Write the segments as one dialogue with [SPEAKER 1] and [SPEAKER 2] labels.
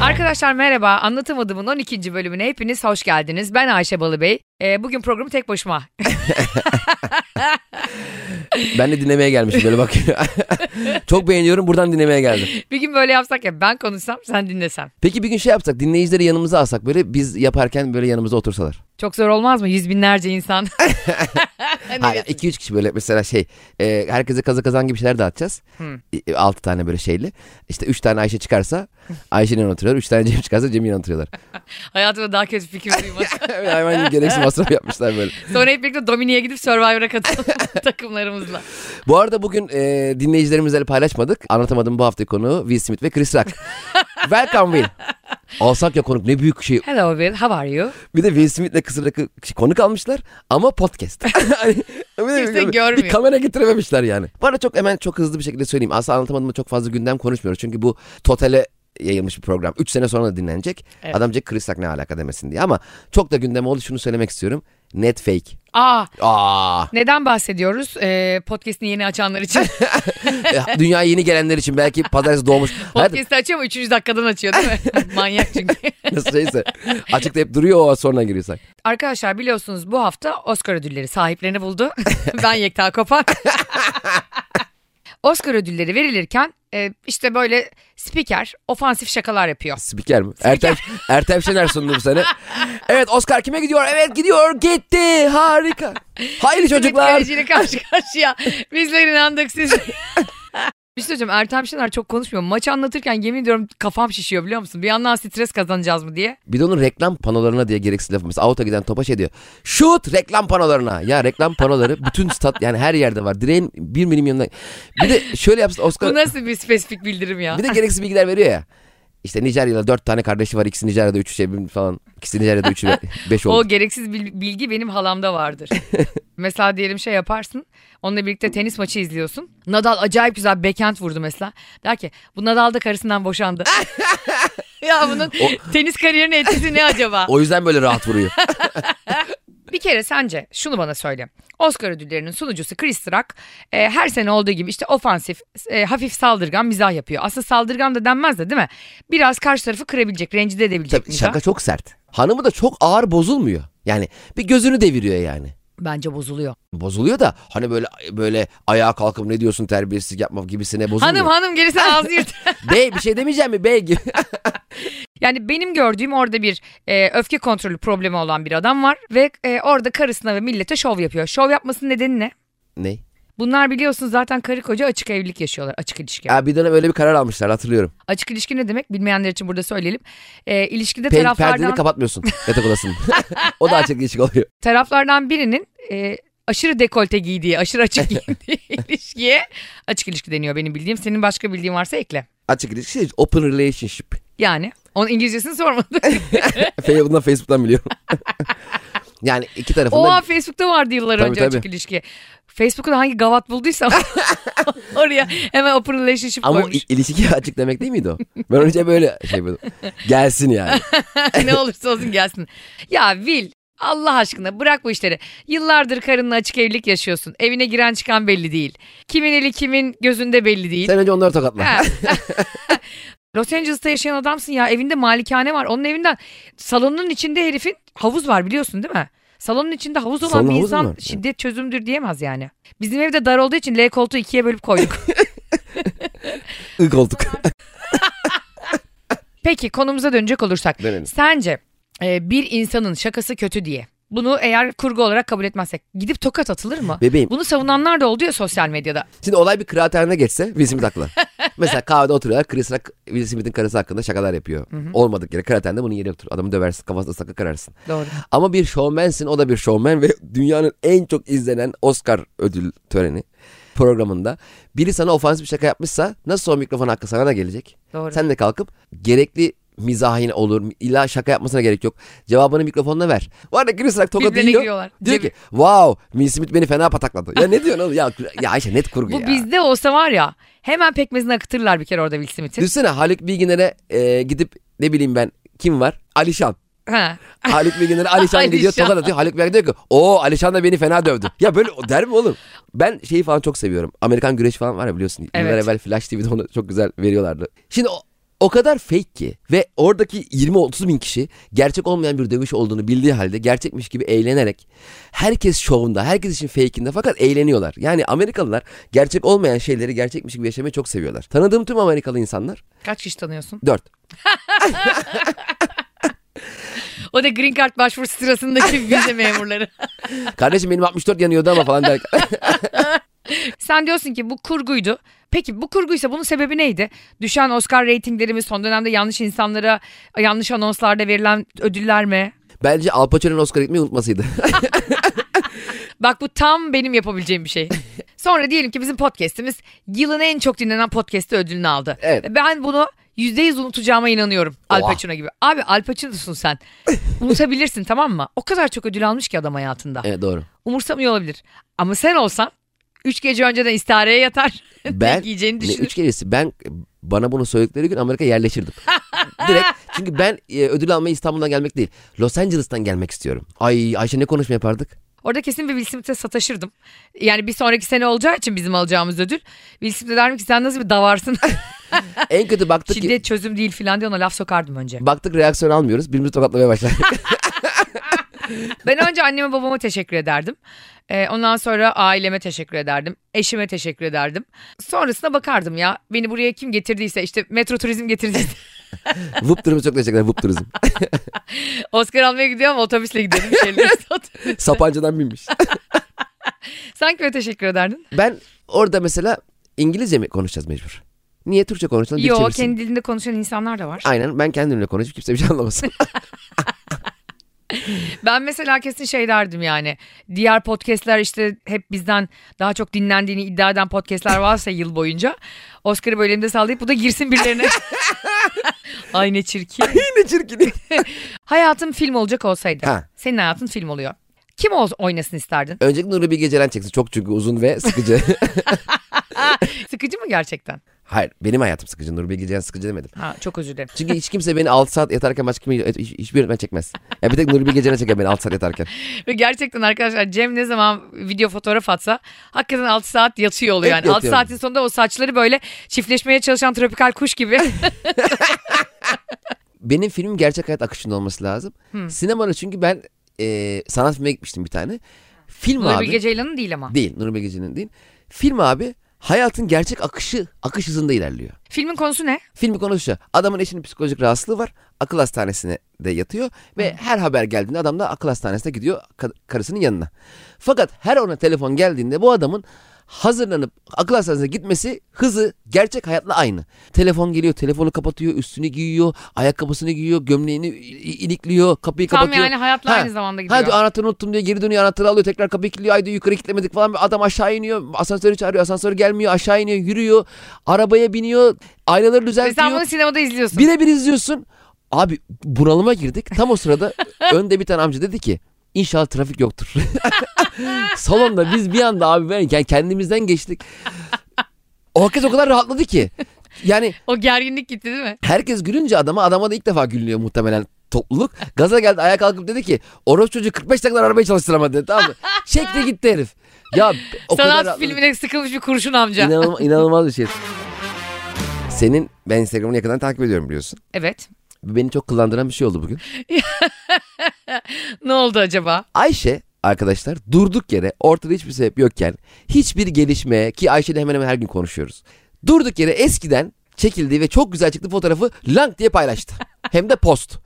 [SPEAKER 1] Arkadaşlar merhaba. Anlatamadığımın 12. bölümüne hepiniz hoş geldiniz. Ben Ayşe Balıbey. Ee, bugün programı tek başıma.
[SPEAKER 2] Ben de dinlemeye gelmişim böyle bak. Çok beğeniyorum buradan dinlemeye geldim.
[SPEAKER 1] bir gün böyle yapsak ya ben konuşsam sen dinlesen.
[SPEAKER 2] Peki bir gün şey yapsak dinleyicileri yanımıza alsak böyle biz yaparken böyle yanımıza otursalar.
[SPEAKER 1] Çok zor olmaz mı? Yüz binlerce insan. Ne
[SPEAKER 2] Hayır
[SPEAKER 1] diyorsun?
[SPEAKER 2] 2-3 kişi böyle mesela şey e, herkese kaza kazan gibi şeyler dağıtacağız.
[SPEAKER 1] Hı.
[SPEAKER 2] 6 tane böyle şeyli. İşte 3 tane Ayşe çıkarsa Ayşe'nin yanına oturuyorlar. 3 tane Cem çıkarsa Cem'in yanına oturuyorlar.
[SPEAKER 1] Hayatımda daha kötü fikir duymadım.
[SPEAKER 2] Böyle Hayvan gibi gereksiz masraf yapmışlar böyle.
[SPEAKER 1] Sonra hep birlikte Domini'ye gidip Survivor'a katılalım takımlarımızla.
[SPEAKER 2] Bu arada bugün e, dinleyicilerimizle paylaşmadık. Anlatamadım bu hafta konuğu Will Smith ve Chris Rock. Welcome Will. Alsak ya konuk ne büyük şey.
[SPEAKER 1] Hello Bill, how are you?
[SPEAKER 2] Bir de Will Smith'le kısırdaki konuk almışlar ama podcast. Hani bir de-
[SPEAKER 1] Kimse
[SPEAKER 2] bir-
[SPEAKER 1] görmüyor.
[SPEAKER 2] Bir kamera getirememişler yani. Bu arada çok hemen çok hızlı bir şekilde söyleyeyim. Aslında anlatamadığımda çok fazla gündem konuşmuyoruz. Çünkü bu totale yayılmış bir program. 3 sene sonra da dinlenecek.
[SPEAKER 1] Evet.
[SPEAKER 2] Adam diyecek Chris Rock ne alaka demesin diye. Ama çok da gündem oldu şunu söylemek istiyorum. Net fake.
[SPEAKER 1] Aa,
[SPEAKER 2] Aa,
[SPEAKER 1] neden bahsediyoruz? Ee, podcast'ini yeni açanlar için.
[SPEAKER 2] E, dünyaya yeni gelenler için belki pazartesi doğmuş. Hayatım,
[SPEAKER 1] Podcast'i açıyor ama 3. dakikadan açıyor değil mi? Manyak çünkü.
[SPEAKER 2] nasıl şeyse. Açıkta hep duruyor o sonra giriyorsak.
[SPEAKER 1] Arkadaşlar biliyorsunuz bu hafta Oscar ödülleri sahiplerini buldu. ben Yekta Kopan. Oscar ödülleri verilirken e, işte böyle spiker ofansif şakalar yapıyor.
[SPEAKER 2] Spiker mi? Ertem, Ertem Şener sundu bu sene. Evet Oscar kime gidiyor? Evet gidiyor gitti harika. Hayır çocuklar.
[SPEAKER 1] Spikerciyle karşı karşıya bizler inandık siz. Bir şey söyleyeceğim Ertem Şener çok konuşmuyor. Maçı anlatırken yemin ediyorum kafam şişiyor biliyor musun? Bir yandan stres kazanacağız mı diye.
[SPEAKER 2] Bir de onun reklam panolarına diye gereksiz lafı. Mesela auto giden topa şey diyor. Şut reklam panolarına. Ya reklam panoları bütün stat yani her yerde var. Direğin bir milim yanında. Bir de şöyle yapsın Oscar.
[SPEAKER 1] Bu nasıl bir spesifik bildirim ya?
[SPEAKER 2] Bir de gereksiz bilgiler veriyor ya. İşte Nijeryalı dört tane kardeşi var. İkisi Nijerya'da üçü şey falan. İkisi Nijerya'da üçü be- beş oldu.
[SPEAKER 1] O gereksiz bil- bilgi benim halamda vardır. mesela diyelim şey yaparsın. Onunla birlikte tenis maçı izliyorsun. Nadal acayip güzel backhand vurdu mesela. Der ki bu Nadal da karısından boşandı. ya bunun tenis kariyerine etkisi ne acaba?
[SPEAKER 2] O yüzden böyle rahat vuruyor.
[SPEAKER 1] Bir kere sence şunu bana söyle. Oscar ödüllerinin sunucusu Chris Rock e, her sene olduğu gibi işte ofansif, e, hafif saldırgan mizah yapıyor. Aslında saldırgan da denmez de değil mi? Biraz karşı tarafı kırabilecek, rencide edebilecek
[SPEAKER 2] Tabii
[SPEAKER 1] mizah.
[SPEAKER 2] şaka çok sert. Hanımı da çok ağır bozulmuyor. Yani bir gözünü deviriyor yani.
[SPEAKER 1] Bence bozuluyor.
[SPEAKER 2] Bozuluyor da hani böyle böyle ayağa kalkıp ne diyorsun terbiyesizlik yapma gibisine bozulmuyor.
[SPEAKER 1] Hanım hanım gerisi ağzı yırt.
[SPEAKER 2] Bey bir şey demeyeceğim mi bey gibi.
[SPEAKER 1] Yani benim gördüğüm orada bir e, öfke kontrolü problemi olan bir adam var ve e, orada karısına ve millete şov yapıyor. Şov yapmasının nedeni ne?
[SPEAKER 2] ne?
[SPEAKER 1] Bunlar biliyorsun zaten karı koca açık evlilik yaşıyorlar, açık ilişki.
[SPEAKER 2] Ya bir dönem öyle bir karar almışlar hatırlıyorum.
[SPEAKER 1] Açık ilişki ne demek bilmeyenler için burada söyleyelim. E, ilişkide
[SPEAKER 2] Pe-
[SPEAKER 1] taraflardan
[SPEAKER 2] Perdeni kapatmıyorsun yatak odasının. o da açık değişik oluyor.
[SPEAKER 1] taraflardan birinin e, aşırı dekolte giydiği, aşırı açık giydiği ilişkiye açık ilişki deniyor benim bildiğim. Senin başka bildiğin varsa ekle.
[SPEAKER 2] Açık ilişki şey, open relationship.
[SPEAKER 1] Yani onun İngilizcesini sormadık.
[SPEAKER 2] Fe- Bundan Facebook'tan biliyorum. yani iki tarafında
[SPEAKER 1] Oha Facebook'ta vardı yıllar
[SPEAKER 2] Tabii,
[SPEAKER 1] önce
[SPEAKER 2] tabii.
[SPEAKER 1] açık ilişki. Facebook'ta hangi gavat bulduysam oraya hemen open relationship
[SPEAKER 2] ama
[SPEAKER 1] koymuş.
[SPEAKER 2] il- ilişki açık demek değil miydi o? Ben önce böyle şey böyle gelsin yani.
[SPEAKER 1] ne olursa olsun gelsin. Ya Will Allah aşkına bırak bu işleri. Yıllardır karınla açık evlilik yaşıyorsun. Evine giren çıkan belli değil. Kimin eli kimin gözünde belli değil.
[SPEAKER 2] Sen önce onları tokatla.
[SPEAKER 1] Ha. Los Angeles'ta yaşayan adamsın ya. Evinde malikane var. Onun evinden salonunun içinde herifin havuz var biliyorsun değil mi? Salonun içinde havuz olan
[SPEAKER 2] Salonun
[SPEAKER 1] bir
[SPEAKER 2] havuzu
[SPEAKER 1] insan
[SPEAKER 2] mu var?
[SPEAKER 1] şiddet çözümdür diyemez yani. Bizim evde dar olduğu için L koltuğu ikiye bölüp koyduk.
[SPEAKER 2] I koltuk.
[SPEAKER 1] Peki konumuza dönecek olursak.
[SPEAKER 2] Dönelim.
[SPEAKER 1] Sence e, bir insanın şakası kötü diye bunu eğer kurgu olarak kabul etmezsek gidip tokat atılır mı?
[SPEAKER 2] Bebeğim
[SPEAKER 1] Bunu savunanlar da oldu ya sosyal medyada.
[SPEAKER 2] şimdi olay bir kıraathanede geçse Will Smith haklı. Mesela kahvede oturuyorlar Chris Rock Will Smith'in karısı hakkında şakalar yapıyor. Olmadık yere kıraathanede bunun yeri yoktur. Adamı döversin kafasına sakı kırarsın.
[SPEAKER 1] Doğru.
[SPEAKER 2] Ama bir şovmensin o da bir şovmen ve dünyanın en çok izlenen Oscar ödül töreni programında biri sana ofansif bir şaka yapmışsa nasıl o mikrofon hakkı sana da gelecek.
[SPEAKER 1] Doğru.
[SPEAKER 2] Sen de kalkıp gerekli mizahin olur. İlla şaka yapmasına gerek yok. Cevabını mikrofonla ver. Bu arada Chris Rock tokat
[SPEAKER 1] Birbirine
[SPEAKER 2] yiyor.
[SPEAKER 1] giriyorlar.
[SPEAKER 2] Diyor ki wow Will Smith beni fena patakladı. Ya ne diyorsun oğlum? Ya, ya Ayşe net kurgu
[SPEAKER 1] Bu
[SPEAKER 2] ya.
[SPEAKER 1] bizde olsa var ya hemen pekmezini akıtırlar bir kere orada Will Smith'in.
[SPEAKER 2] Düşünsene Haluk Bilginer'e e, gidip ne bileyim ben kim var? Alişan.
[SPEAKER 1] Ha.
[SPEAKER 2] Haluk Bilginer'e Alişan gidiyor
[SPEAKER 1] Alişan.
[SPEAKER 2] tokat atıyor. Haluk Bilginer diyor ki o Alişan da beni fena dövdü. ya böyle der mi oğlum? Ben şeyi falan çok seviyorum. Amerikan güreşi falan var ya biliyorsun. Yıllar
[SPEAKER 1] Evet.
[SPEAKER 2] evvel Flash TV'de onu çok güzel veriyorlardı. Şimdi o, o kadar fake ki ve oradaki 20-30 bin kişi gerçek olmayan bir dövüş olduğunu bildiği halde gerçekmiş gibi eğlenerek herkes şovunda herkes için fake'inde fakat eğleniyorlar. Yani Amerikalılar gerçek olmayan şeyleri gerçekmiş gibi yaşamayı çok seviyorlar. Tanıdığım tüm Amerikalı insanlar
[SPEAKER 1] Kaç kişi tanıyorsun?
[SPEAKER 2] 4.
[SPEAKER 1] O da green card başvurusu sırasındaki vize memurları.
[SPEAKER 2] Kardeşim benim 64 yanıyordu ama falan der.
[SPEAKER 1] Sen diyorsun ki bu kurguydu. Peki bu kurguysa bunun sebebi neydi? Düşen Oscar reytinglerimiz son dönemde yanlış insanlara yanlış anonslarda verilen ödüller mi?
[SPEAKER 2] Bence Al Pacino'nun Oscar gitmeyi unutmasıydı.
[SPEAKER 1] Bak bu tam benim yapabileceğim bir şey. Sonra diyelim ki bizim podcast'imiz yılın en çok dinlenen podcast'i ödülünü aldı.
[SPEAKER 2] Evet.
[SPEAKER 1] Ben bunu %100 unutacağıma inanıyorum. Al
[SPEAKER 2] Oha.
[SPEAKER 1] Pacino gibi. Abi Al Pacino'sun sen. Unutabilirsin tamam mı? O kadar çok ödül almış ki adam hayatında.
[SPEAKER 2] evet doğru.
[SPEAKER 1] Umursamıyor olabilir. Ama sen olsan 3 gece önceden istihareye yatar.
[SPEAKER 2] Ben
[SPEAKER 1] yiyeceğini
[SPEAKER 2] ne,
[SPEAKER 1] düşünür.
[SPEAKER 2] üç keresi ben bana bunu söyledikleri gün Amerika yerleşirdim. Direkt çünkü ben e, ödül almayı İstanbul'dan gelmek değil. Los Angeles'tan gelmek istiyorum. Ay Ayşe ne konuşma yapardık?
[SPEAKER 1] Orada kesin bir Will Smith'e sataşırdım. Yani bir sonraki sene olacağı için bizim alacağımız ödül. Will Smith'e derdim ki sen nasıl bir davarsın.
[SPEAKER 2] En kötü baktık ki-
[SPEAKER 1] Şiddet çözüm değil filan diye ona laf sokardım önce.
[SPEAKER 2] baktık reaksiyon almıyoruz. Birbirimizi tokatlamaya başladık.
[SPEAKER 1] Ben önce anneme babama teşekkür ederdim. Ee, ondan sonra aileme teşekkür ederdim. Eşime teşekkür ederdim. Sonrasına bakardım ya. Beni buraya kim getirdiyse işte metro turizm getirdiyse.
[SPEAKER 2] Vup turizm çok teşekkürler. Vup turizm.
[SPEAKER 1] Oscar almaya gidiyor ama otobüsle gidiyorum. Bir şeyler satıyor.
[SPEAKER 2] Sapanca'dan binmiş.
[SPEAKER 1] Sen kime teşekkür ederdin?
[SPEAKER 2] Ben orada mesela İngilizce mi konuşacağız mecbur? Niye Türkçe konuşalım? Bir
[SPEAKER 1] Yo
[SPEAKER 2] çevirsin.
[SPEAKER 1] kendi dilinde konuşan insanlar da var.
[SPEAKER 2] Aynen ben kendimle konuşup kimse bir şey anlamasın.
[SPEAKER 1] Ben mesela kesin şey derdim yani. Diğer podcastler işte hep bizden daha çok dinlendiğini iddia eden podcastler varsa yıl boyunca. Oscar'ı böyle elimde sallayıp bu da girsin birilerine. Ay ne çirkin.
[SPEAKER 2] Yine çirkin.
[SPEAKER 1] Hayatın film olacak olsaydı.
[SPEAKER 2] Ha.
[SPEAKER 1] Senin hayatın film oluyor. Kim o- oynasın isterdin?
[SPEAKER 2] Öncelikle Nuri Bilge Ceylan çeksin. Çok çünkü uzun ve sıkıcı.
[SPEAKER 1] Ah. Sıkıcı mı gerçekten?
[SPEAKER 2] Hayır benim hayatım sıkıcı. Nuri Bilge Ceylan sıkıcı demedim.
[SPEAKER 1] Ha çok özür dilerim.
[SPEAKER 2] Çünkü hiç kimse beni 6 saat yatarken başka kim hiç, hiçbir yönetmen çekmez. Ya bir tek Nuri Bilge Ceylan çeker beni 6 saat yatarken.
[SPEAKER 1] Ve gerçekten arkadaşlar Cem ne zaman video fotoğraf atsa hakikaten 6 saat yatıyor oluyor
[SPEAKER 2] Hep
[SPEAKER 1] yani. 6
[SPEAKER 2] yatıyorum.
[SPEAKER 1] saatin sonunda o saçları böyle çiftleşmeye çalışan tropikal kuş gibi.
[SPEAKER 2] Benim filmim gerçek hayat akışında olması lazım. Sinemada çünkü ben e, sanat filmine gitmiştim bir tane. Film
[SPEAKER 1] Nuri
[SPEAKER 2] abi.
[SPEAKER 1] Bilge Ceylan'ın değil ama.
[SPEAKER 2] Değil Nuri Bilge Ceylan'ın değil. Film abi hayatın gerçek akışı akış hızında ilerliyor.
[SPEAKER 1] Filmin konusu ne?
[SPEAKER 2] Filmi konuşuyor. Adamın eşinin psikolojik rahatsızlığı var. Akıl hastanesine de yatıyor. Ve her haber geldiğinde adam da akıl hastanesine gidiyor ka- karısının yanına. Fakat her ona telefon geldiğinde bu adamın hazırlanıp akıl hastanesine gitmesi hızı gerçek hayatla aynı. Telefon geliyor, telefonu kapatıyor, üstünü giyiyor, ayakkabısını giyiyor, gömleğini i- ilikliyor, kapıyı
[SPEAKER 1] Tam
[SPEAKER 2] kapatıyor.
[SPEAKER 1] yani hayatla
[SPEAKER 2] Ha.
[SPEAKER 1] aynı zamanda
[SPEAKER 2] Ha
[SPEAKER 1] gidiyor.
[SPEAKER 2] diyor anahtarı unuttum diye geri dönüyor anahtarı alıyor tekrar kapıyı kilitliyor ay diyor yukarı kilitlemedik falan adam aşağı iniyor asansörü çağırıyor asansör gelmiyor aşağı iniyor yürüyor arabaya biniyor aynaları
[SPEAKER 1] Ve sen bunu
[SPEAKER 2] düzeltiyor
[SPEAKER 1] sinemada izliyorsun.
[SPEAKER 2] birebir izliyorsun abi bunalıma girdik tam o sırada önde bir tane amca dedi ki İnşallah trafik yoktur. Salonda biz bir anda abi ben yani kendimizden geçtik. O herkes o kadar rahatladı ki. Yani
[SPEAKER 1] O gerginlik gitti değil mi?
[SPEAKER 2] Herkes gülünce adama adama da ilk defa gülünüyor muhtemelen topluluk. Gaza geldi ayağa kalkıp dedi ki Oros çocuğu 45 dakikadan arabayı çalıştıramadı dedi tamam mı? Çekti gitti herif. Ya o kadar
[SPEAKER 1] Sanat
[SPEAKER 2] rahatladım.
[SPEAKER 1] filmine sıkılmış bir kurşun amca.
[SPEAKER 2] İnanılma- inanılmaz bir şey. Senin ben Instagram'ını yakından takip ediyorum biliyorsun.
[SPEAKER 1] Evet.
[SPEAKER 2] Beni çok kullandıran bir şey oldu bugün.
[SPEAKER 1] Ne oldu acaba?
[SPEAKER 2] Ayşe arkadaşlar durduk yere ortada hiçbir sebep yokken hiçbir gelişme ki Ayşe'yle hemen hemen her gün konuşuyoruz. Durduk yere eskiden çekildiği ve çok güzel çıktı fotoğrafı lank diye paylaştı. Hem de post.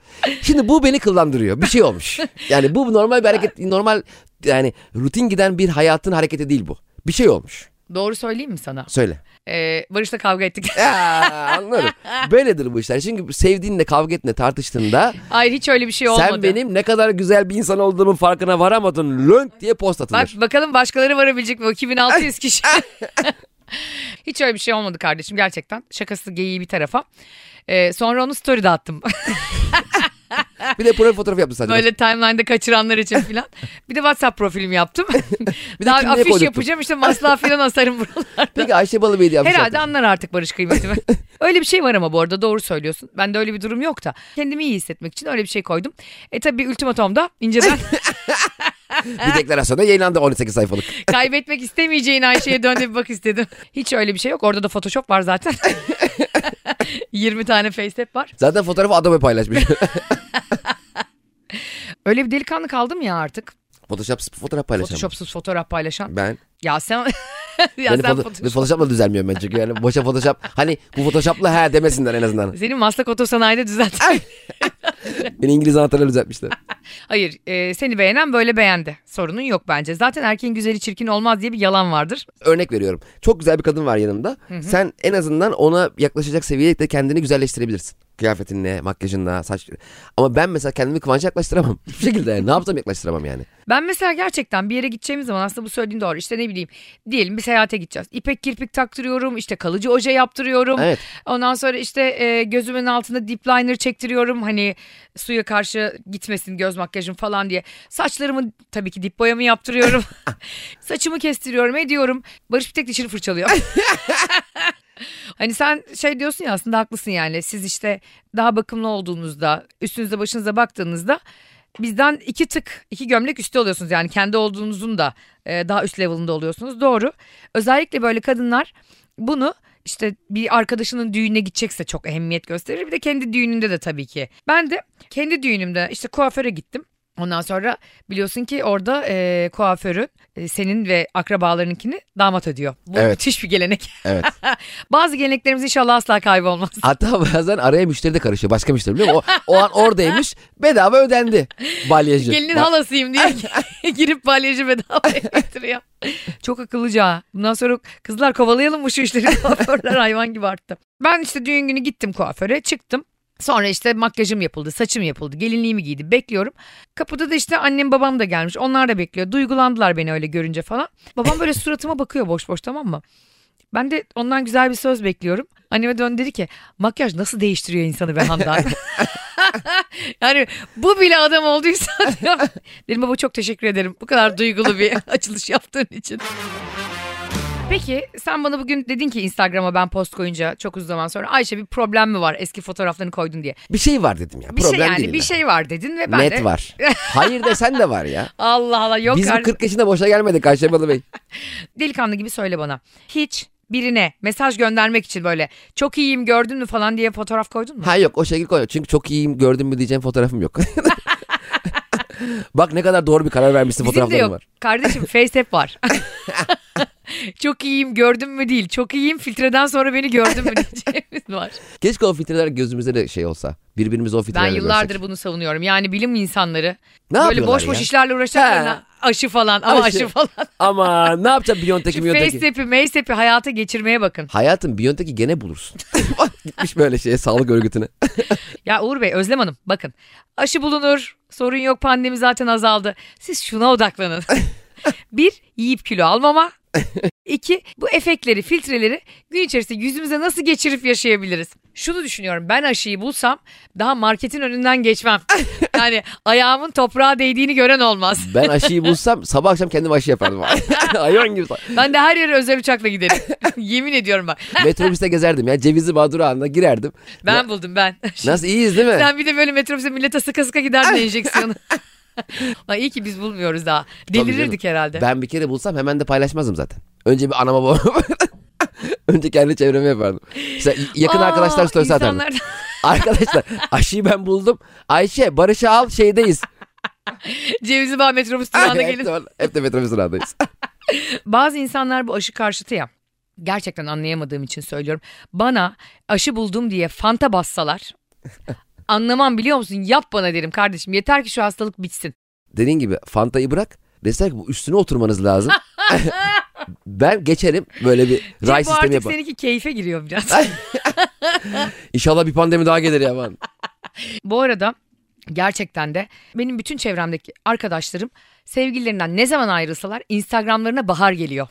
[SPEAKER 2] Şimdi bu beni kıllandırıyor. Bir şey olmuş. Yani bu normal bir hareket, normal yani rutin giden bir hayatın hareketi değil bu. Bir şey olmuş.
[SPEAKER 1] Doğru söyleyeyim mi sana?
[SPEAKER 2] Söyle.
[SPEAKER 1] Ee, Barış'la kavga ettik.
[SPEAKER 2] Aa, anlarım. Böyledir bu işler. Çünkü sevdiğinle kavga ettiğinde tartıştığında
[SPEAKER 1] Hayır hiç öyle bir şey olmadı.
[SPEAKER 2] sen benim ne kadar güzel bir insan olduğumun farkına varamadın. Lönk diye post atılır.
[SPEAKER 1] Bak bakalım başkaları varabilecek mi? O 2600 kişi. hiç öyle bir şey olmadı kardeşim gerçekten. Şakası geyiği bir tarafa. Ee, sonra onu story'de attım.
[SPEAKER 2] Bir de profil fotoğrafı yaptı sadece.
[SPEAKER 1] Böyle timeline'da kaçıranlar için filan. Bir de WhatsApp profilim yaptım.
[SPEAKER 2] Bir de
[SPEAKER 1] Daha
[SPEAKER 2] kimliğe
[SPEAKER 1] afiş
[SPEAKER 2] koydurttum.
[SPEAKER 1] yapacağım işte masla filan asarım buralara.
[SPEAKER 2] Peki Ayşe Balıbeyli yapmış.
[SPEAKER 1] Herhalde anlar artık Barış kıymetimi. öyle bir şey var ama bu arada doğru söylüyorsun. Bende öyle bir durum yok da. Kendimi iyi hissetmek için öyle bir şey koydum. E tabii ultimatomda inceden
[SPEAKER 2] Bir deklarasyonda yayınlandı 18 sayfalık.
[SPEAKER 1] kaybetmek istemeyeceğin Ayşe'ye dön de bir bak istedim. Hiç öyle bir şey yok. Orada da Photoshop var zaten. 20 tane FaceTap var.
[SPEAKER 2] Zaten fotoğrafı Adobe paylaşmış.
[SPEAKER 1] Öyle bir delikanlı kaldım ya artık.
[SPEAKER 2] Photoshop'sız fotoğraf paylaşan.
[SPEAKER 1] Photoshop'suz fotoğraf paylaşan.
[SPEAKER 2] Ben.
[SPEAKER 1] Ya sen ya
[SPEAKER 2] beni
[SPEAKER 1] sen
[SPEAKER 2] foto-
[SPEAKER 1] Photoshop-
[SPEAKER 2] beni Photoshop'la düzelmiyorum ben çünkü. Yani boşa Photoshop. Hani bu Photoshop'la ha demesinler en azından.
[SPEAKER 1] Senin Maslak Otosanayi'de düzelt.
[SPEAKER 2] Beni İngiliz anahtarla düzeltmişler.
[SPEAKER 1] Hayır e, seni beğenen böyle beğendi. Sorunun yok bence. Zaten erkeğin güzeli çirkin olmaz diye bir yalan vardır.
[SPEAKER 2] Örnek veriyorum. Çok güzel bir kadın var yanımda. Sen en azından ona yaklaşacak seviyede de kendini güzelleştirebilirsin. Kıyafetinle, makyajınla, saç... Ama ben mesela kendimi Kıvanç'a yaklaştıramam. Hiçbir şekilde yani. Ne yapsam yaklaştıramam yani.
[SPEAKER 1] Ben mesela gerçekten bir yere gideceğimiz zaman aslında bu söylediğin doğru. İşte ne bileyim diyelim bir seyahate gideceğiz. İpek kirpik taktırıyorum işte kalıcı oje yaptırıyorum.
[SPEAKER 2] Evet.
[SPEAKER 1] Ondan sonra işte e, gözümün altında deep liner çektiriyorum. Hani suya karşı gitmesin göz makyajım falan diye. Saçlarımı tabii ki dip boyamı yaptırıyorum. Saçımı kestiriyorum ediyorum. Barış bir tek dişini fırçalıyor. Hani sen şey diyorsun ya aslında haklısın yani. Siz işte daha bakımlı olduğunuzda, üstünüze başınıza baktığınızda bizden iki tık, iki gömlek üstte oluyorsunuz. Yani kendi olduğunuzun da e, daha üst level'ında oluyorsunuz. Doğru. Özellikle böyle kadınlar bunu işte bir arkadaşının düğününe gidecekse çok ehemmiyet gösterir. Bir de kendi düğününde de tabii ki. Ben de kendi düğünümde işte kuaföre gittim. Ondan sonra biliyorsun ki orada e, kuaförün e, senin ve akrabalarınınkini damat ödüyor. Bu
[SPEAKER 2] Evet.
[SPEAKER 1] müthiş bir gelenek.
[SPEAKER 2] Evet.
[SPEAKER 1] Bazı geleneklerimiz inşallah asla kaybolmaz.
[SPEAKER 2] Hatta bazen araya müşteri de karışıyor. Başka müşteri biliyor musun? O, o an oradaymış. Bedava ödendi. Balyajı.
[SPEAKER 1] Gelinin
[SPEAKER 2] Ba-
[SPEAKER 1] halasıyım diye girip balyajı bedavaya getiriyor. Çok akıllıca. ha. Bundan sonra kızlar kovalayalım mı şu işleri kuaförler hayvan gibi arttı. Ben işte düğün günü gittim kuaföre çıktım. Sonra işte makyajım yapıldı, saçım yapıldı, gelinliğimi giydim. Bekliyorum. Kapıda da işte annem babam da gelmiş. Onlar da bekliyor. Duygulandılar beni öyle görünce falan. Babam böyle suratıma bakıyor boş boş tamam mı? Ben de ondan güzel bir söz bekliyorum. Anneme dön dedi ki makyaj nasıl değiştiriyor insanı be Handan. yani bu bile adam olduysa diyorum. dedim baba çok teşekkür ederim. Bu kadar duygulu bir açılış yaptığın için. Peki sen bana bugün dedin ki Instagram'a ben post koyunca çok uzun zaman sonra Ayşe bir problem mi var eski fotoğraflarını koydun diye.
[SPEAKER 2] Bir şey var dedim ya.
[SPEAKER 1] Bir
[SPEAKER 2] Problem
[SPEAKER 1] şey yani
[SPEAKER 2] değil.
[SPEAKER 1] bir
[SPEAKER 2] de.
[SPEAKER 1] şey var dedin ve ben
[SPEAKER 2] Net
[SPEAKER 1] de
[SPEAKER 2] var. Hayır desen de var ya.
[SPEAKER 1] Allah Allah yok
[SPEAKER 2] Biz bu
[SPEAKER 1] artık.
[SPEAKER 2] 40 yaşında boşa gelmedik Ayşemalı Bey.
[SPEAKER 1] delikanlı gibi söyle bana. Hiç birine mesaj göndermek için böyle çok iyiyim gördün mü falan diye fotoğraf koydun mu?
[SPEAKER 2] Ha yok o şekil koy. Çünkü çok iyiyim gördün mü diyeceğim fotoğrafım yok. Bak ne kadar doğru bir karar vermişsin
[SPEAKER 1] Bizim de
[SPEAKER 2] fotoğraflarım
[SPEAKER 1] yok.
[SPEAKER 2] var.
[SPEAKER 1] Kardeşim FaceTap var. çok iyiyim gördün mü değil. Çok iyiyim filtreden sonra beni gördün mü diyeceğimiz var.
[SPEAKER 2] Keşke o filtreler gözümüzde de şey olsa. Birbirimizi o
[SPEAKER 1] Ben
[SPEAKER 2] filtrelerle
[SPEAKER 1] yıllardır
[SPEAKER 2] görsek.
[SPEAKER 1] bunu savunuyorum. Yani bilim insanları
[SPEAKER 2] Ne
[SPEAKER 1] böyle
[SPEAKER 2] yapıyorlar
[SPEAKER 1] boş
[SPEAKER 2] ya?
[SPEAKER 1] boş işlerle uğraşacaklarına aşı falan ama aşı,
[SPEAKER 2] Aşı.
[SPEAKER 1] falan.
[SPEAKER 2] Ama ne yapacağım Biontech'i
[SPEAKER 1] Şu
[SPEAKER 2] Biontech'i?
[SPEAKER 1] FaceTap'i, MaceTap'i hayata geçirmeye bakın.
[SPEAKER 2] Hayatım Biontech'i gene bulursun. Gitmiş böyle şeye sağlık örgütüne.
[SPEAKER 1] Ya Uğur Bey, Özlem Hanım bakın aşı bulunur, sorun yok pandemi zaten azaldı. Siz şuna odaklanın. Bir, yiyip kilo almama. İki, bu efektleri, filtreleri gün içerisinde yüzümüze nasıl geçirip yaşayabiliriz? Şunu düşünüyorum ben aşıyı bulsam daha marketin önünden geçmem. Yani ayağımın toprağa değdiğini gören olmaz.
[SPEAKER 2] Ben aşıyı bulsam sabah akşam kendim aşı yapardım. Hayvan gibi.
[SPEAKER 1] Ben de her yere özel uçakla giderim. Yemin ediyorum bak.
[SPEAKER 2] Metrobüste gezerdim ya. Cevizli Bağdurağı'na girerdim.
[SPEAKER 1] Ben buldum ben.
[SPEAKER 2] Nasıl iyiyiz değil mi?
[SPEAKER 1] Sen bir de böyle metrobüse millete sıka sıka giderdin enjeksiyonu. Ay iyi ki biz bulmuyoruz daha.
[SPEAKER 2] canım.
[SPEAKER 1] Delirirdik herhalde.
[SPEAKER 2] Ben bir kere bulsam hemen de paylaşmazdım zaten. Önce bir anama babama. Önce kendi çevreme yapardım. İşte yakın
[SPEAKER 1] Aa,
[SPEAKER 2] arkadaşlar storiesi atardım.
[SPEAKER 1] insanlar da-
[SPEAKER 2] Arkadaşlar aşıyı ben buldum. Ayşe Barış'ı al şeydeyiz.
[SPEAKER 1] Cevizi Bağ metrobüs durağına
[SPEAKER 2] hep,
[SPEAKER 1] gelin.
[SPEAKER 2] de, hep de metrobüs durağındayız.
[SPEAKER 1] Bazı insanlar bu aşı karşıtı ya. Gerçekten anlayamadığım için söylüyorum. Bana aşı buldum diye fanta bassalar anlamam biliyor musun? Yap bana derim kardeşim. Yeter ki şu hastalık bitsin.
[SPEAKER 2] Dediğin gibi Fanta'yı bırak. Deseler ki bu üstüne oturmanız lazım. ben geçerim böyle bir
[SPEAKER 1] Çünkü
[SPEAKER 2] ray
[SPEAKER 1] bu
[SPEAKER 2] sistemi
[SPEAKER 1] artık
[SPEAKER 2] yaparım.
[SPEAKER 1] seninki keyfe giriyor biraz.
[SPEAKER 2] İnşallah bir pandemi daha gelir ya aman.
[SPEAKER 1] Bu arada gerçekten de benim bütün çevremdeki arkadaşlarım sevgililerinden ne zaman ayrılsalar Instagramlarına bahar geliyor.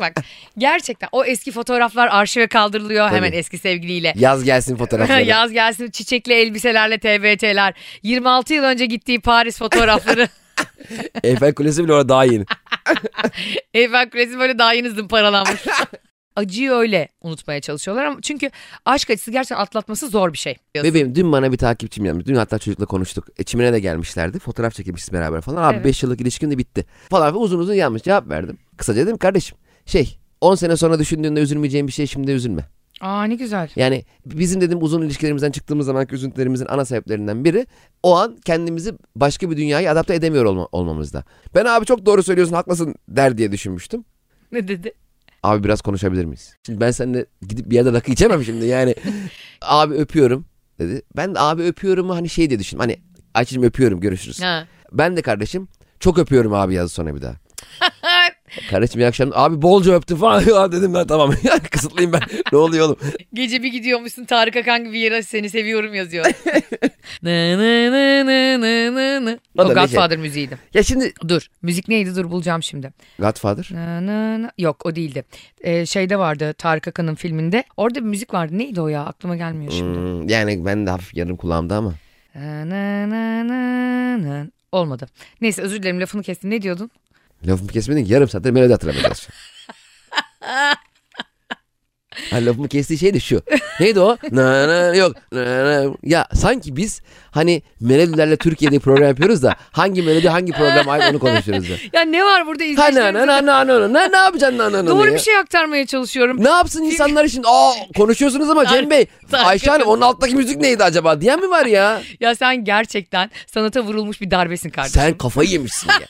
[SPEAKER 1] Bak gerçekten o eski fotoğraflar arşive kaldırılıyor hemen
[SPEAKER 2] Tabii.
[SPEAKER 1] eski sevgiliyle.
[SPEAKER 2] Yaz gelsin fotoğrafları.
[SPEAKER 1] Yaz gelsin çiçekli elbiselerle TBT'ler. 26 yıl önce gittiği Paris fotoğrafları.
[SPEAKER 2] Eyfel Kulesi bile orada daha yeni.
[SPEAKER 1] Eyfel Kulesi böyle daha yeni zımparalanmış. Acıyı öyle unutmaya çalışıyorlar ama çünkü aşk acısı gerçekten atlatması zor bir şey.
[SPEAKER 2] Bebeğim dün bana bir takipçim gelmiş. Dün hatta çocukla konuştuk. E, çimene de gelmişlerdi. Fotoğraf çekilmişiz beraber falan. Abi
[SPEAKER 1] Evet.
[SPEAKER 2] 5 yıllık ilişkin de bitti. Falan filan uzun uzun yanmış. Cevap verdim. Kısaca dedim kardeşim şey 10 sene sonra düşündüğünde üzülmeyeceğin bir şey şimdi üzülme.
[SPEAKER 1] Aa ne güzel.
[SPEAKER 2] Yani bizim dedim uzun ilişkilerimizden çıktığımız zaman üzüntülerimizin ana sebeplerinden biri o an kendimizi başka bir dünyaya adapte edemiyor olma- olmamızda. Ben abi çok doğru söylüyorsun haklısın der diye düşünmüştüm.
[SPEAKER 1] Ne dedi?
[SPEAKER 2] Abi biraz konuşabilir miyiz? Şimdi ben seninle gidip bir yerde rakı içemem şimdi yani. abi öpüyorum dedi. Ben de abi öpüyorumu hani şey diye düşündüm. Hani Ayça'cığım öpüyorum görüşürüz.
[SPEAKER 1] Ha.
[SPEAKER 2] Ben de kardeşim çok öpüyorum abi yazdı sonra bir daha. Kardeşim iyi akşamlar. Abi bolca öptüm falan Ya dedim ben tamam. Kısıtlayayım ben. ne oluyor oğlum?
[SPEAKER 1] Gece bir gidiyormuşsun Tarık Akan gibi yere seni seviyorum yazıyor. nı nı nı nı nı nı nı.
[SPEAKER 2] O da
[SPEAKER 1] O
[SPEAKER 2] bir şey.
[SPEAKER 1] Godfather müziğiydi.
[SPEAKER 2] Ya şimdi
[SPEAKER 1] Dur. Müzik neydi? Dur bulacağım şimdi.
[SPEAKER 2] Godfather.
[SPEAKER 1] Nı nı nı. Yok o değildi. Ee, şeyde vardı Tarık Akan'ın filminde. Orada bir müzik vardı. Neydi o ya? Aklıma gelmiyor şimdi.
[SPEAKER 2] Hmm, yani ben de hafif yarım kulağımda ama.
[SPEAKER 1] Nı nı nı nı nı. Olmadı. Neyse özür dilerim lafını kestim. Ne diyordun?
[SPEAKER 2] Lafımı kesmedin ki yarım saattir melodi hatırlamayacağız. Ha, lafımı kestiği şey de şu. Neydi o? Na, na, yok. na, na. Ya sanki biz hani melodilerle Türkiye'de program yapıyoruz da hangi melodi hangi program ay onu konuşuyoruz da.
[SPEAKER 1] Ya ne var burada
[SPEAKER 2] Ha, na, na,
[SPEAKER 1] izleyicilerimize?
[SPEAKER 2] na, na, na, na. Ne yapacaksın na, na, na,
[SPEAKER 1] Doğru
[SPEAKER 2] ya?
[SPEAKER 1] bir şey aktarmaya çalışıyorum.
[SPEAKER 2] Ne yapsın insanlar şimdi? Aa konuşuyorsunuz ama Cem Bey.
[SPEAKER 1] Tar-
[SPEAKER 2] Ayşe Hanım onun alttaki müzik neydi acaba diyen mi var ya?
[SPEAKER 1] Ya sen gerçekten sanata vurulmuş bir darbesin kardeşim.
[SPEAKER 2] Sen kafayı yemişsin ya.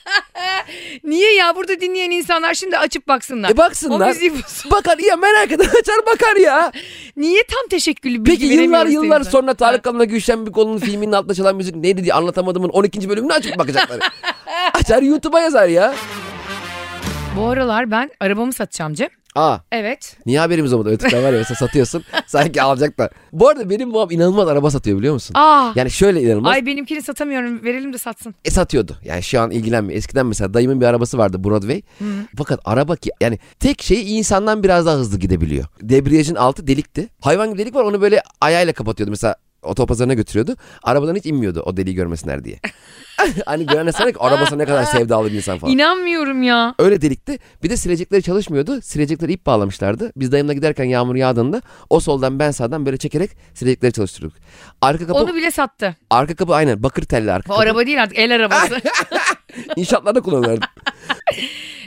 [SPEAKER 1] Niye ya burada dinleyen insanlar şimdi açıp baksınlar.
[SPEAKER 2] E baksınlar.
[SPEAKER 1] O müziği bulsun.
[SPEAKER 2] Bakar ya merak eder açar bakar ya.
[SPEAKER 1] Niye tam teşekküllü bilgi
[SPEAKER 2] Peki yıllar
[SPEAKER 1] veremiyoruz
[SPEAKER 2] yıllar
[SPEAKER 1] seninle?
[SPEAKER 2] sonra Tarık Kalın'la Gülşen Bikoğlu'nun filminin altında çalan müzik neydi diye anlatamadığımın 12. bölümünü açıp bakacaklar. açar YouTube'a yazar ya.
[SPEAKER 1] Bu aralar ben arabamı satacağım Cem.
[SPEAKER 2] Aa
[SPEAKER 1] Evet.
[SPEAKER 2] niye haberimiz olmadı? Ötükler var ya mesela satıyorsun sanki alacaklar. Bu arada benim babam inanılmaz araba satıyor biliyor musun?
[SPEAKER 1] Aa.
[SPEAKER 2] Yani şöyle inanılmaz.
[SPEAKER 1] Ay benimkini satamıyorum. Verelim de satsın.
[SPEAKER 2] E, satıyordu. Yani şu an ilgilenmiyor. Eskiden mesela dayımın bir arabası vardı Broadway. Fakat araba ki yani tek şeyi insandan biraz daha hızlı gidebiliyor. Debriyajın altı delikti. Hayvan gibi delik var onu böyle ayağıyla kapatıyordu. Mesela otopazarına götürüyordu. Arabadan hiç inmiyordu o deliği görmesinler diye. hani görenler sanıyor ki arabasına ne kadar sevdalı bir insan falan.
[SPEAKER 1] İnanmıyorum ya.
[SPEAKER 2] Öyle delikti. Bir de silecekleri çalışmıyordu. Silecekleri ip bağlamışlardı. Biz dayımla giderken yağmur yağdığında o soldan ben sağdan böyle çekerek silecekleri çalıştırdık. Arka kapı,
[SPEAKER 1] Onu bile sattı.
[SPEAKER 2] arka kapı aynen bakır telli arka
[SPEAKER 1] Bu
[SPEAKER 2] kapı.
[SPEAKER 1] araba değil artık el arabası.
[SPEAKER 2] İnşaatlarda kullanırlardı.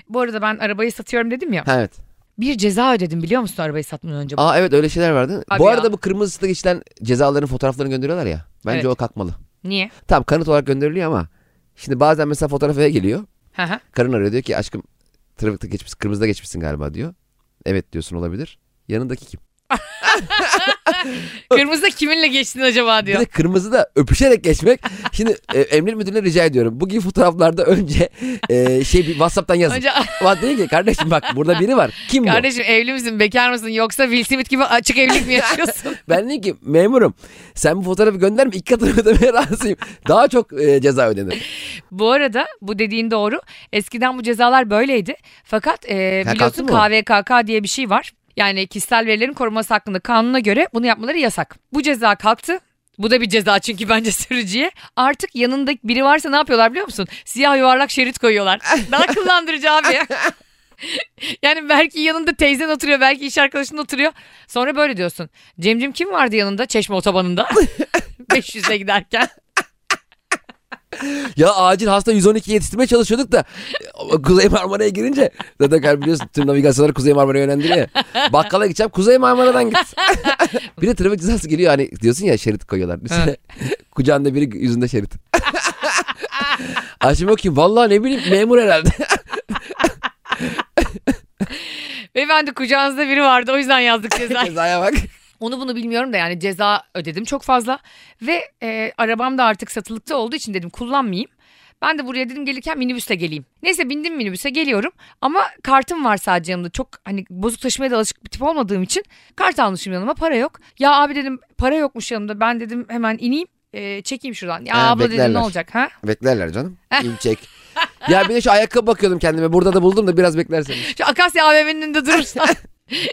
[SPEAKER 1] Bu arada ben arabayı satıyorum dedim ya.
[SPEAKER 2] Ha, evet.
[SPEAKER 1] Bir ceza ödedim biliyor musun arabayı satmadan önce?
[SPEAKER 2] Aa evet öyle şeyler vardı.
[SPEAKER 1] Abi
[SPEAKER 2] bu
[SPEAKER 1] ya.
[SPEAKER 2] arada bu kırmızı ışıkta geçilen cezaların fotoğraflarını gönderiyorlar ya. Bence
[SPEAKER 1] Evet.
[SPEAKER 2] o kalkmalı.
[SPEAKER 1] Niye?
[SPEAKER 2] Tamam kanıt olarak gönderiliyor ama şimdi bazen mesela fotoğraf eve geliyor.
[SPEAKER 1] Hı hı.
[SPEAKER 2] Karın arıyor diyor ki aşkım trafikte geçmişsin kırmızıda geçmişsin galiba diyor. Evet diyorsun olabilir. Yanındaki kim?
[SPEAKER 1] Kırmızıda kiminle geçtin acaba
[SPEAKER 2] Bir
[SPEAKER 1] diyor.
[SPEAKER 2] de kırmızıda öpüşerek geçmek. Şimdi e, emniyet müdürüne rica ediyorum. Bu gibi fotoğraflarda önce e, şey bir Whatsapp'tan yazın.
[SPEAKER 1] Önce
[SPEAKER 2] Ulan deyin ki kardeşim bak burada biri var. Kim bu?
[SPEAKER 1] kardeşim evli misin bekar mısın yoksa Will Smith gibi açık evlilik mi yaşıyorsun?
[SPEAKER 2] Ben dedim ki memurum sen bu fotoğrafı gönderme iki katını ödemeye razıyım. Daha çok e, ceza ödenir.
[SPEAKER 1] bu arada bu dediğin doğru. Eskiden bu cezalar böyleydi. Fakat e,
[SPEAKER 2] kalktı
[SPEAKER 1] biliyorsun
[SPEAKER 2] mı?
[SPEAKER 1] KVKK diye bir şey var. Yani kişisel verilerin korunması hakkında kanuna göre bunu yapmaları yasak. Bu ceza kalktı. Bu da bir ceza çünkü bence sürücüye. Artık yanında biri varsa ne yapıyorlar biliyor musun? Siyah yuvarlak şerit koyuyorlar. Daha akıllandırıcı abi. Yani belki yanında teyzen oturuyor, belki iş arkadaşın oturuyor. Sonra böyle diyorsun. Cemcim kim vardı yanında? Çeşme otobanında. 500'e giderken.
[SPEAKER 2] Ya acil hasta 112 yetiştirmeye çalışıyorduk da e, Kuzey Marmara'ya girince zaten galiba biliyorsun tüm navigasyonları Kuzey Marmara'ya yönlendiriyor. ya. Bakkala gideceğim Kuzey Marmara'dan git. bir de trafik cezası geliyor hani diyorsun ya şerit koyuyorlar. Üstüne kucağında biri yüzünde şerit. Aşım yok ki vallahi ne bileyim memur herhalde.
[SPEAKER 1] Beyefendi kucağınızda biri vardı o yüzden yazdık cezayı.
[SPEAKER 2] Cezaya bak.
[SPEAKER 1] Onu bunu bilmiyorum da yani ceza ödedim çok fazla. Ve e, arabam da artık satılıkta olduğu için dedim kullanmayayım. Ben de buraya dedim gelirken minibüsle geleyim. Neyse bindim minibüse geliyorum. Ama kartım var sadece yanımda. Çok hani bozuk taşımaya da alışık bir tip olmadığım için kart almışım yanıma para yok. Ya abi dedim para yokmuş yanımda. Ben dedim hemen ineyim e, çekeyim şuradan. Ya
[SPEAKER 2] Ha,
[SPEAKER 1] abla dedim ne
[SPEAKER 2] beklerler.
[SPEAKER 1] olacak ha?
[SPEAKER 2] Beklerler canım. İlçek. Ya bir de şu ayakkabı bakıyordum kendime. Burada da buldum da biraz beklersen.
[SPEAKER 1] Şu Akasya AVM'nin önünde durursan.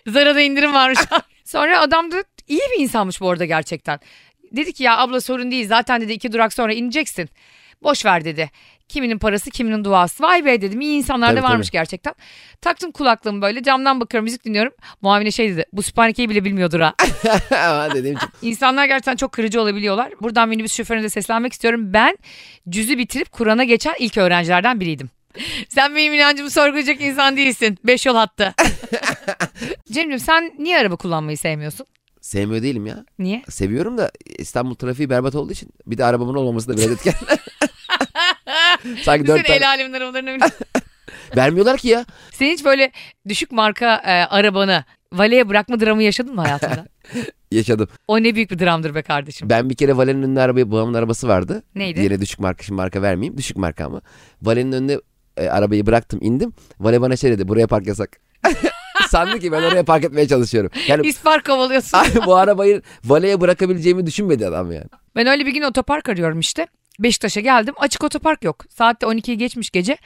[SPEAKER 1] Zara'da indirim varmış. Ah. sonra adam da iyi bir insanmış bu arada gerçekten. Dedi ki ya abla sorun değil zaten dedi iki durak sonra ineceksin. Boş ver dedi. Kiminin parası kiminin duası. Vay be dedim iyi insanlar da
[SPEAKER 2] Tabii,
[SPEAKER 1] varmış gerçekten. Taktım kulaklığımı böyle camdan bakıyorum müzik dinliyorum. Muavine şey dedi bu süphanekeyi bile bilmiyordur ha.
[SPEAKER 2] Ama dediğim için.
[SPEAKER 1] İnsanlar gerçekten çok kırıcı olabiliyorlar. Buradan minibüs şoförüne de seslenmek istiyorum. Ben cüzü bitirip Kur'an'a geçen ilk öğrencilerden biriydim. Sen benim inancımı sorgulayacak insan değilsin. Beş yol hattı. Cem'ciğim sen niye araba kullanmayı sevmiyorsun?
[SPEAKER 2] Sevmiyor değilim ya.
[SPEAKER 1] Niye?
[SPEAKER 2] Seviyorum da İstanbul trafiği berbat olduğu için bir de arabamın olmaması da biraz etken. Sanki
[SPEAKER 1] Sen
[SPEAKER 2] dört
[SPEAKER 1] el
[SPEAKER 2] tane.
[SPEAKER 1] alemin arabalarını
[SPEAKER 2] Vermiyorlar ki ya.
[SPEAKER 1] Senin hiç böyle düşük marka e, arabanı valeye bırakma dramı yaşadın mı hayatında?
[SPEAKER 2] Yaşadım.
[SPEAKER 1] o ne büyük bir dramdır be kardeşim.
[SPEAKER 2] Ben bir kere Valen'in önünde arabayı babamın arabası vardı.
[SPEAKER 1] Neydi?
[SPEAKER 2] Yine düşük marka şimdi marka vermeyeyim. Düşük marka ama. Valen'in önünde e, arabayı bıraktım indim. Vale bana şey dedi buraya park yasak. Sandı ki ben oraya park etmeye çalışıyorum. Yani
[SPEAKER 1] İspar kovalıyorsun.
[SPEAKER 2] bu arabayı valeye bırakabileceğimi düşünmedi adam yani.
[SPEAKER 1] Ben öyle bir gün otopark arıyorum işte. Beşiktaş'a geldim. Açık otopark yok. Saatte 12'yi geçmiş gece.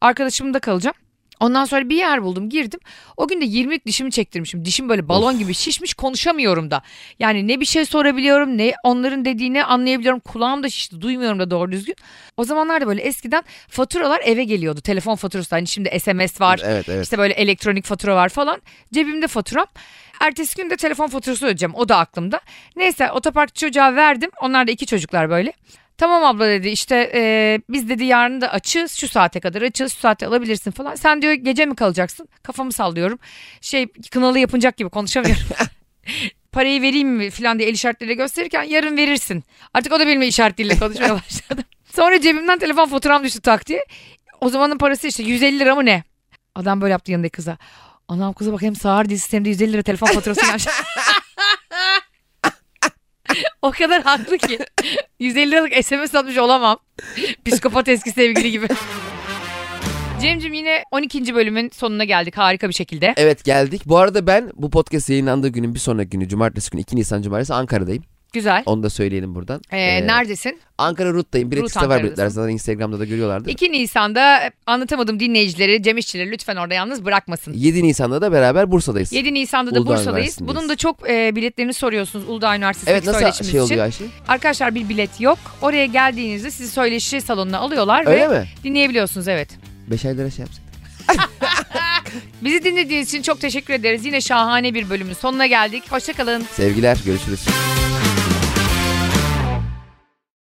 [SPEAKER 1] Arkadaşımda kalacağım. Ondan sonra bir yer buldum girdim. O gün de 20'lik dişimi çektirmişim. Dişim böyle balon gibi şişmiş konuşamıyorum da. Yani ne bir şey sorabiliyorum ne onların dediğini anlayabiliyorum. Kulağım da şişti duymuyorum da doğru düzgün. O zamanlarda böyle eskiden faturalar eve geliyordu. Telefon faturası hani şimdi SMS var.
[SPEAKER 2] Evet evet.
[SPEAKER 1] İşte böyle elektronik fatura var falan. Cebimde faturam. Ertesi gün de telefon faturası ödeyeceğim. O da aklımda. Neyse otopark çocuğa verdim. Onlar da iki çocuklar böyle. Tamam abla dedi işte e, biz dedi yarın da açız şu saate kadar açız şu saate alabilirsin falan. Sen diyor gece mi kalacaksın? Kafamı sallıyorum. Şey kınalı yapınacak gibi konuşamıyorum. Parayı vereyim mi falan diye el işaretleriyle gösterirken yarın verirsin. Artık o da benimle işaret diliyle konuşmaya başladı. Sonra cebimden telefon faturam düştü tak diye. O zamanın parası işte 150 lira mı ne? Adam böyle yaptı yanındaki kıza. Anam kıza bak hem sağır dizisi hem de 150 lira telefon faturası gelmiş. o kadar haklı ki. 150 liralık SMS atmış olamam. Psikopat eski sevgili gibi. Cem'cim yine 12. bölümün sonuna geldik harika bir şekilde.
[SPEAKER 2] Evet geldik. Bu arada ben bu podcast yayınlandığı günün bir sonraki günü cumartesi günü 2 Nisan cumartesi Ankara'dayım.
[SPEAKER 1] Güzel.
[SPEAKER 2] Onu da söyleyelim buradan.
[SPEAKER 1] Ee,
[SPEAKER 2] Ee,
[SPEAKER 1] neredesin?
[SPEAKER 2] Ankara Rut'tayım. Bilet
[SPEAKER 1] Rut
[SPEAKER 2] iste var
[SPEAKER 1] Ankara'dasın.
[SPEAKER 2] biletler. Zaten Instagram'da da görüyorlardı.
[SPEAKER 1] 2 Nisan'da anlatamadım dinleyicileri, Cem İşçileri lütfen orada yalnız bırakmasın.
[SPEAKER 2] 7 Nisan'da da beraber Bursa'dayız.
[SPEAKER 1] 7 Nisan'da da
[SPEAKER 2] Uludağ
[SPEAKER 1] Bursa'dayız.
[SPEAKER 2] Üniversitesi'ndeyiz.
[SPEAKER 1] Bunun da çok e, biletlerini soruyorsunuz Uludağ Üniversitesi'ndeki
[SPEAKER 2] Evet nasıl
[SPEAKER 1] söyleşimiz
[SPEAKER 2] şey
[SPEAKER 1] için.
[SPEAKER 2] oluyor Ayşe?
[SPEAKER 1] Arkadaşlar bir bilet yok. Oraya geldiğinizde sizi söyleşi salonuna alıyorlar
[SPEAKER 2] Öyle
[SPEAKER 1] ve
[SPEAKER 2] mi?
[SPEAKER 1] dinleyebiliyorsunuz evet.
[SPEAKER 2] 5 ay lira şey yapsak.
[SPEAKER 1] Bizi dinlediğiniz için çok teşekkür ederiz. Yine şahane bir bölümün sonuna geldik. Hoşçakalın.
[SPEAKER 2] Sevgiler görüşürüz.